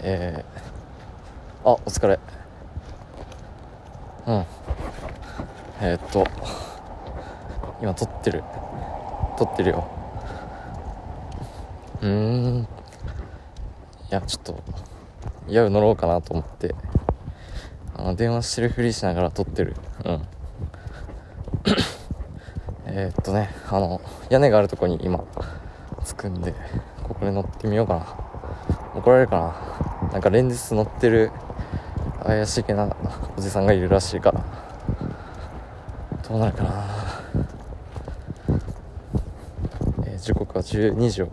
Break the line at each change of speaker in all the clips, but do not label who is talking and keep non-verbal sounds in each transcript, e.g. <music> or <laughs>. えー、あお疲れうんえー、っと今撮ってる撮ってるようーんいやちょっと夜乗ろうかなと思ってあの電話してるふりしながら撮ってるうん <coughs> えーっとねあの屋根があるとこに今着くんでここで乗ってみようかな怒られるかななんか連日乗ってる怪しげなおじさんがいるらしいからどうなるかな、えー時刻は12時を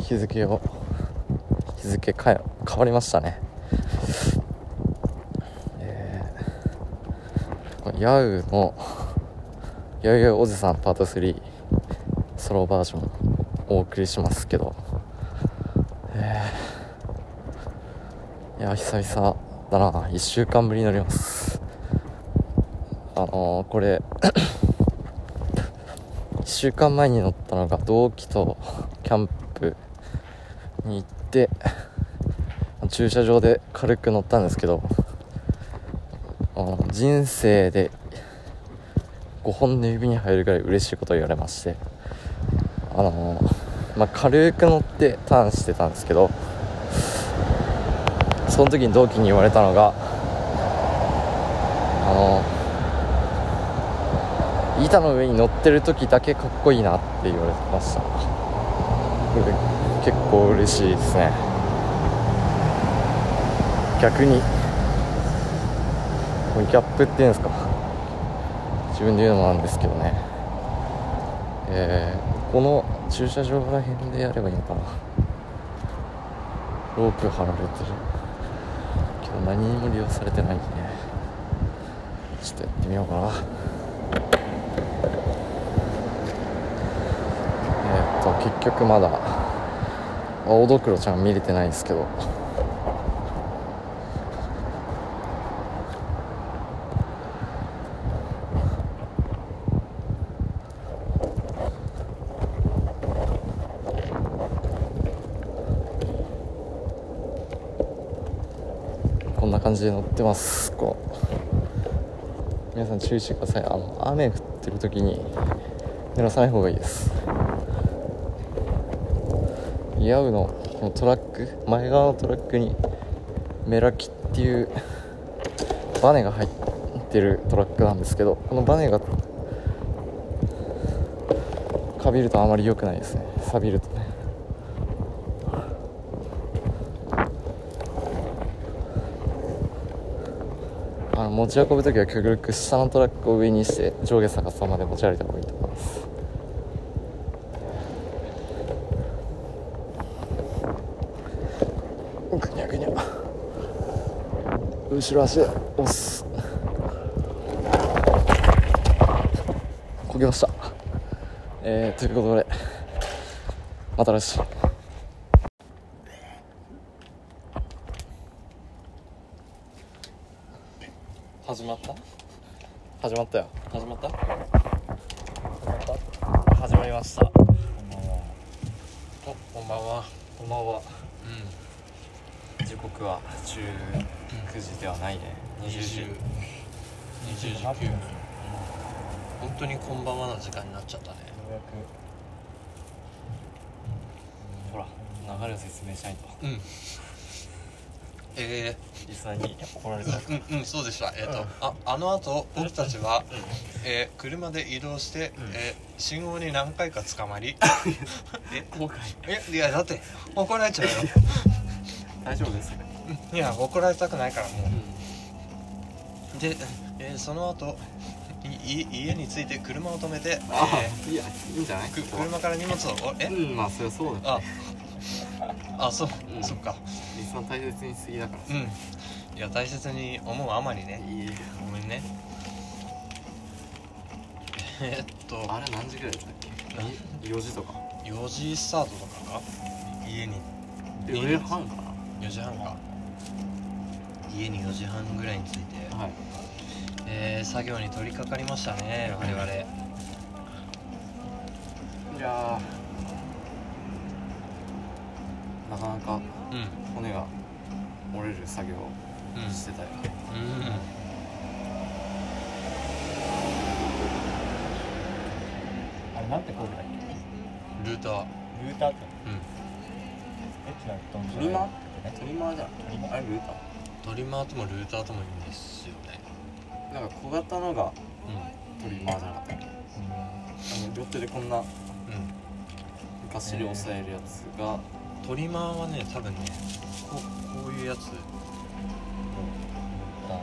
日付を日付かえ変わりましたねえーこのヤウのヤウヤウおじさんパート3ソロバージョンお送りしますけどえーいや久々だな1週間ぶりになりますあのーこれ <coughs> 1週間前に乗ったのが同期とキャンプに行って駐車場で軽く乗ったんですけどあの人生で5本の指に入るぐらい嬉しいことを言われましてあのまあ、軽く乗ってターンしてたんですけどその時に同期に言われたのがあの板の上に乗ってる時だけかっこいいなって言われてましたこれ結構嬉しいですね逆にこうギャップっていうんですか自分で言うのもなんですけどねえーこの駐車場ら辺でやればいいのかなロープ張られてるけど何にも利用されてないねちょっとやってみようかなえーっと結局まだ青ドクロちゃん見れてないんですけどこんな感じで乗ってますこう皆さん注意してくださいあの雨降ってる時に濡らさない方がいいですイアウのこのトラック前側のトラックにメラキっていうバネが入ってるトラックなんですけどこのバネがかびるとあまり良くないですね錆びるとねあの持ち運ぶ時は極力下のトラックを上にして上下逆さまで持ち歩いた方がいいと思いますぐにゃぐにゃ後ろ足で押すこげましたえー、ということでまた来週
始まった
始まったよ
始まった
始まりました
おこんばんは
こんばんは
う
時刻は19時ではないね
ん20時20時9分本当にこんばんはの時間になっちゃったね
ほら流れを説明しないと
うんえ
リスナーに怒られちゃう
ー、うんうんそうでしたえっ、と、ああの後僕たちは、えー車で移動して、えー信号に何回か捕まり
後悔
えいやだって怒られちゃうよ
大丈夫です
いや怒られたくないからもうで、えーその後いい家に着いて車を止めて、
あ
えー
いやいいんじゃない
く車から荷物をおえ
うんまあそれはそうだ
ああそう、
うん
そっか
リスナー大切にしすぎだから
うんいや大切に思うあまりね
いい
ごめんね <laughs> えーっと
あれ何時ぐらいだったっけ
な
4時とか
4時スタートとかか家に
4時半か
4時半か家に4時半ぐらいに着いて、
なはい
えー作業に取り掛かりましたね我々
いやーなかなか
うん
骨が折れる作業を
うん
してたよ、
あれなんて工具だっけ
うんルーター
ルーターって
うん
エッチな布団じゃ
トリマートリマーじ
ない
ゃんあれルータ
トリマーともルーターとも言うんですよね
ーなんか小型のが
う
トリマーじゃなかったあの両手でこんな
んうん
ガッシリ押さえるやつが、
トリマーはね多分ねこうこういうやつ
あ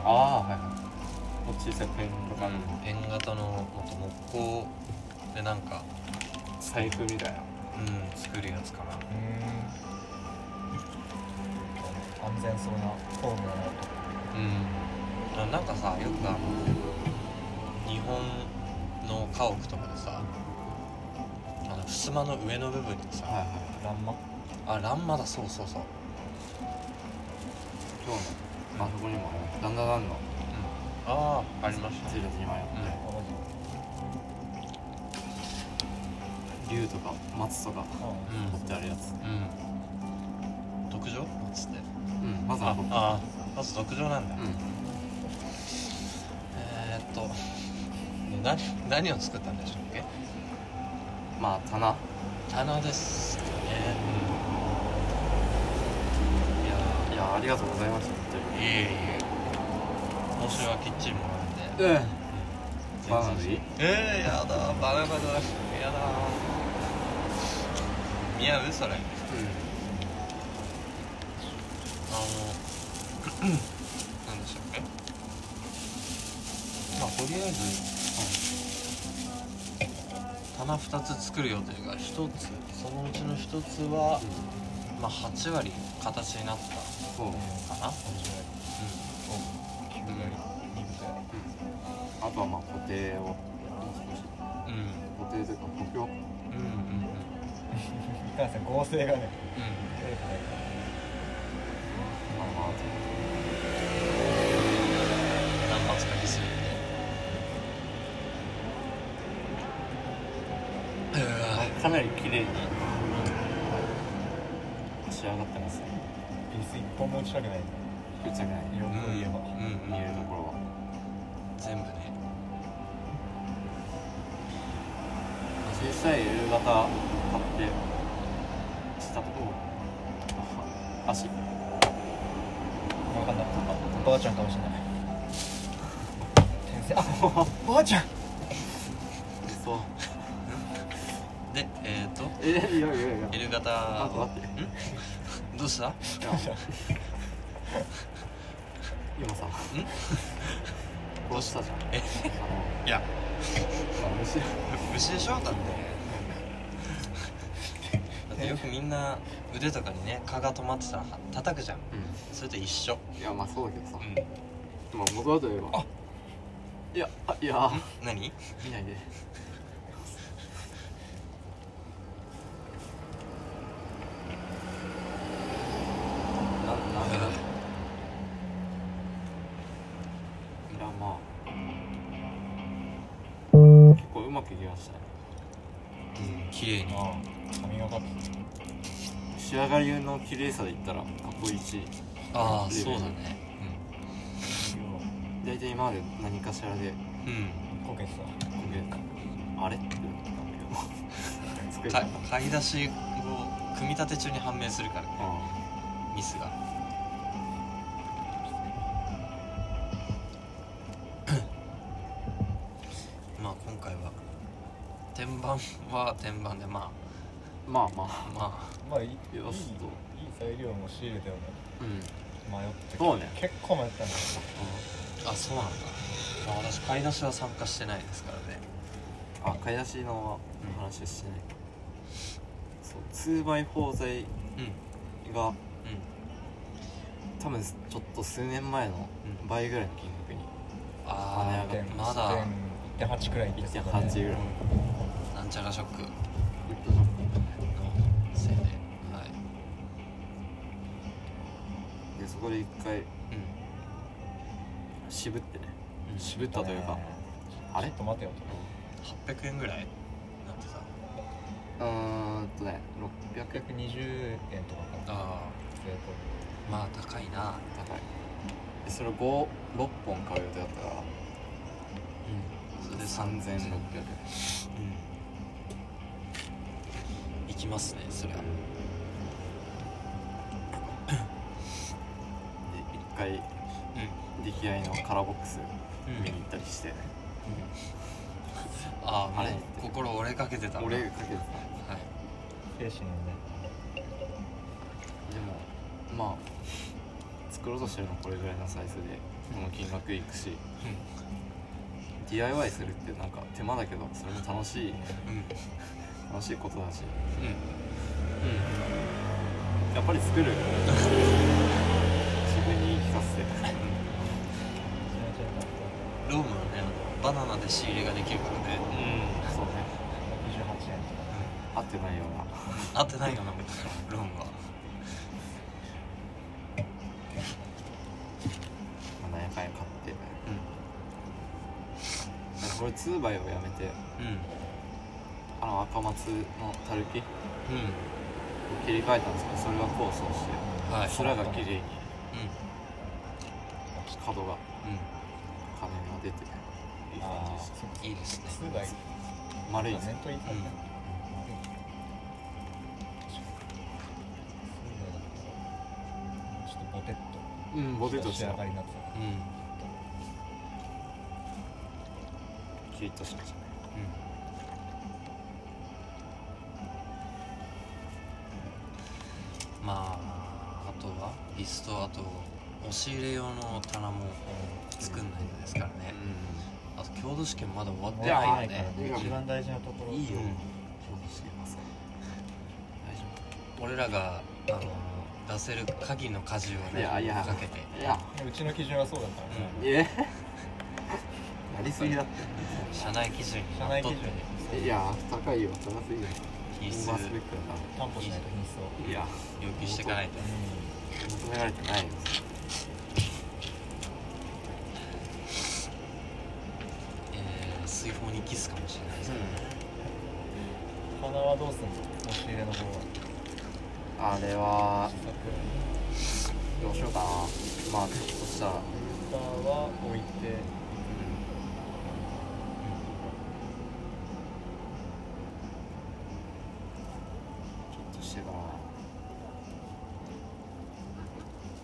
ああはいはいもう小さいペンとか、
円型のもっと木工でなんか
財布みたいな
うん作るやつかな
うーん安全そうなフォームだな
うんななんかさよくあの日本の家屋とかでさあの襖の上の部分にさ、
はいはい
欄間
あ欄間だそうそうそう
今日のあそこにもあるだんだんだんの
ああありまし
手順にもあ
うん
あマジ
って竜とか松とか
う
持ってあるやつ
うん特上なんつって
うんまずは
あ
ここ
あまず特上なんだ、
うん
えー、っと何何を作ったんでしたっけ
まあ棚
棚ですよね、いや
いやありがとうございました本
ーいえいえ今週はキッチンもあるんで
当にうんバナナでいい
えー、やだバナナだやだ似合うそれあの <clears throat> 何でしたっけまあとりあえず、棚2つ作る予定が1つそのうちの1つは、まあ8割形になった
そう
かな、
んいいことや
あとはまあ固定を
うんうん
固定というか補強
うんうん
いかんせん合成
う
がね取れてないか
まあまあ
ん何発かにするんでうわ
かなり綺麗に仕上がってますね
ら椅子一本も落ちたくないんだ
ぶっちゃけない
よ
うん
く言えば
見えるところは
全部ね
小さい L 型買ってしたところ足
分かんなかったばあちゃんかもしれない先生あ <laughs> ばあちゃん
そう
でえっ、ー、と
えいやいやいや
L 型
あ待って
ん <laughs> どうした
いや今さ殺したじゃん
えい
あ
や
の虫
虫でしょだ
<laughs>
ってだってよくみんな腕とかにね蚊が止まってたら叩くじゃんそれと一緒
いやまあそうだけどさ
うん
まあ元はといえば
あ
いやあいや
何
見ないでななんでだいやまあ結構うまくいきましたね
綺麗に
あ髪がかった
仕上がりの綺麗さで言ったら過去一
ああそうだね
大体今まで何かしらで
うん、
こけてた
これあれってなったんだけど作
うん、
り
か
方
買い出しを組み立て中に判明するからね
あ
ミスが <coughs> まあ今回は天板は天板でま
あまあまあ
あま
まあいいいい
よしと
いい材料も仕入れたよね
うん
迷って
そうね
結構迷ったんだ
ああそうなんだ、まあ、私買い出しは参加してないですからね
あ買い出しの話はしてない、そう 2x4 材
うん
が
うん
多分ちょっと数年前の
うん
倍ぐらいの金額に
あ
跳ね上
あまだ
1.8くらいいってたからね
1.8ぐらい
なんちゃらショックのせいではい
でそこで一回
うん
渋ってね
うん
渋ったというか
ね
あ
ちょ
れ
っと待てよ
800円ぐらいなってた
うーんとね600
620円とかかな
あ
税込
まあ高いな
高いでそれ56本買う予定だったから
うんそれで
3600円
3600うん行きますねそれは
で一回
う
出来合いのカラーボックス
ん、
見に行ったりして、
ああ
あ
れ
れ
心折れかけてたんだ
俺
はい
がかけてた
精神のね
でもまあ作ろうとしてるのこれぐらいのサイズでこの金額いくし、DIY するってなんか手間だけどそれも楽しい
うんうん
楽しいことだし
うん
やっぱり作 <laughs> る自分に言い聞かせて
気持ちよかっ
ロームはねあのバナナで仕入れができるからね
うんそうね
た68円とか
合ってないような
合ってないよなロームは
700円買って
うん
これ2倍をやめて
うん
あの赤松のたるきを
う
切り替えたんですけどそれは構想して
んはい
それが綺麗に
うん
角が
う
金が出ていい感じでした
んいいですね
2倍
丸いです
面といいか
うん
ちょっとボテッと
うんボテッとし
仕
た
上がりになって
うんうん
キリッとしましたね
まああとはリストあと押し入れ用の棚も作んないんですからね
う
あと郷土試験まだ終わったてないよ
から
ね
ね一番大事なところ
いいよ
う
んそ
ん
うしてますね大丈
俺らがあの出せる鍵の舵をね
いやいや
かけて
夫いや
うちの基準はそうだからね
う
えやりすぎだっ
ん社内基準に
社
なっ
内
と
基
っ
準
てね
ていや高いよ高すぎる
品質
オーバースペックだ
担保しないと品質を
ないや
要求していかないと
求められてないよ
えー水泡にキスかもしれないですね
花はどうすんの押し入れの方は
あれは
自作
どうしようかなまあちょっとしたら
スターは置いて
ちょっとしてから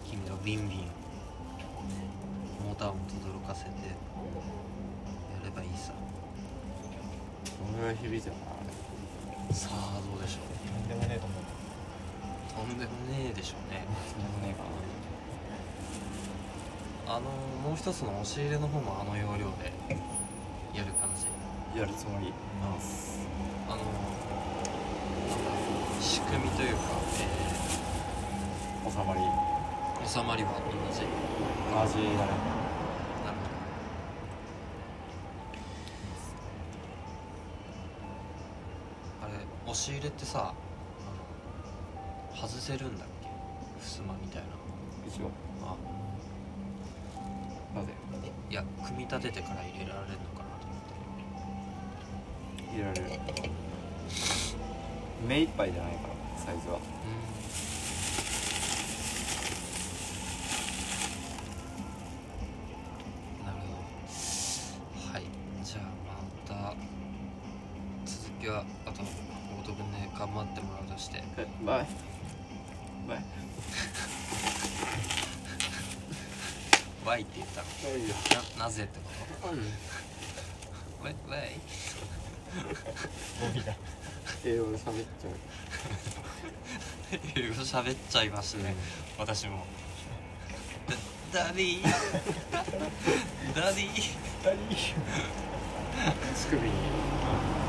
君がビンビンモーター音とどろかせてやればいいさ
どのぐらい響いてるかなあれ
さあどうでしょう
なんでもねえと思う
とんでもねえでしょうね
そんなもねえか
あのもう一つの押し入れの方もあの要領でやる感じ
なやるつもります
あのなんだ仕組みというか、
収まり
えー収まりは同じ
同じだね
なるほどあれ押し入れってさあの外せるんだっけ襖みたいな
一応
あ
なぜ
いや組み立ててから入れられるのかなと思って
入れられる目いっぱいじゃないからサイズは
うんなるほどはいじゃあまた続きはあとごとくね頑張ってもらうとして
バイバイ
「Y」って言ったの
バイよ
ななぜってこと「わいわい <laughs>
ゴミだ
英語で喋っちゃう
英語喋っちゃいましたね、私もダダディ <laughs> ダディ
乳首に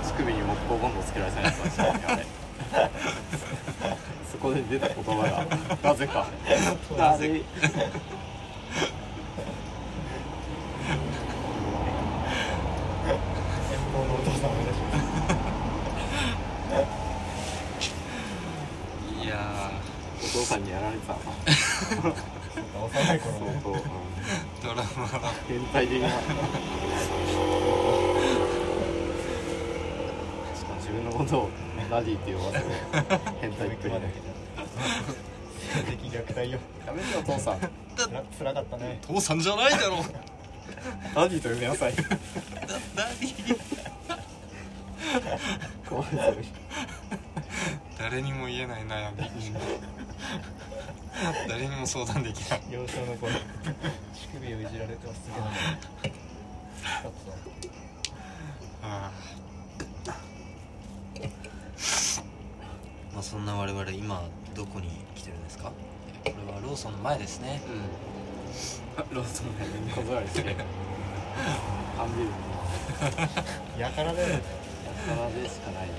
乳首に木工ボンドつけられたやつだしたんだよあ <laughs> れそこで出た言葉がなぜかなぜ
遠方のお父さんもいらっしゃる
いや
お父さんにやられてたな
幼い頃
相
ね
当、うん、
ードラマは
変態的なしかも自分のことをラディって呼ばせる変態っぷり
ま
ね
で受けちゃっ性的虐待よ
やめてよ父さん
つら辛かったね
父さんじゃないだろう
ダディと呼びなさいかわいそうに
誰にも言えない悩み誰にも相談できない
幼少の頃乳首をいじられてますけど
あまあそんな我々今どこに来てるんですかこれはローソンの前ですね
うんローソンで小座りしてアンビルの
やからだよね
宝でしかないね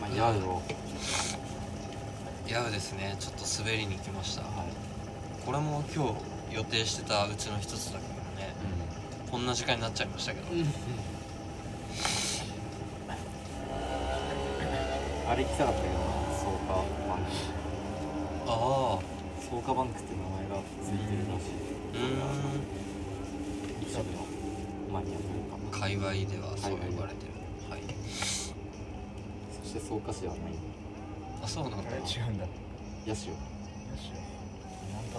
まあヤウを
やぶですねちょっと滑りに来ました
はい
これも今日予定してたうちの一つだけどねこんな時間になっちゃいましたけど、
あれ来たかったけどな草加バンク
ああ
草加バンクって名前がついてるらしいう一
ー
部のマニアというか
ん界隈ではそう呼ばれてるはい
そして草加市はない
あそうなんだ
違うんだよ
八潮
しよなんかそ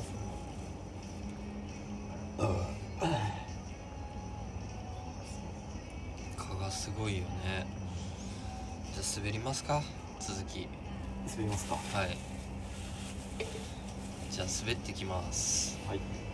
蚊がすごいよねじゃあ滑りますか続き
すみますか
はいじゃあ滑ってきます
はい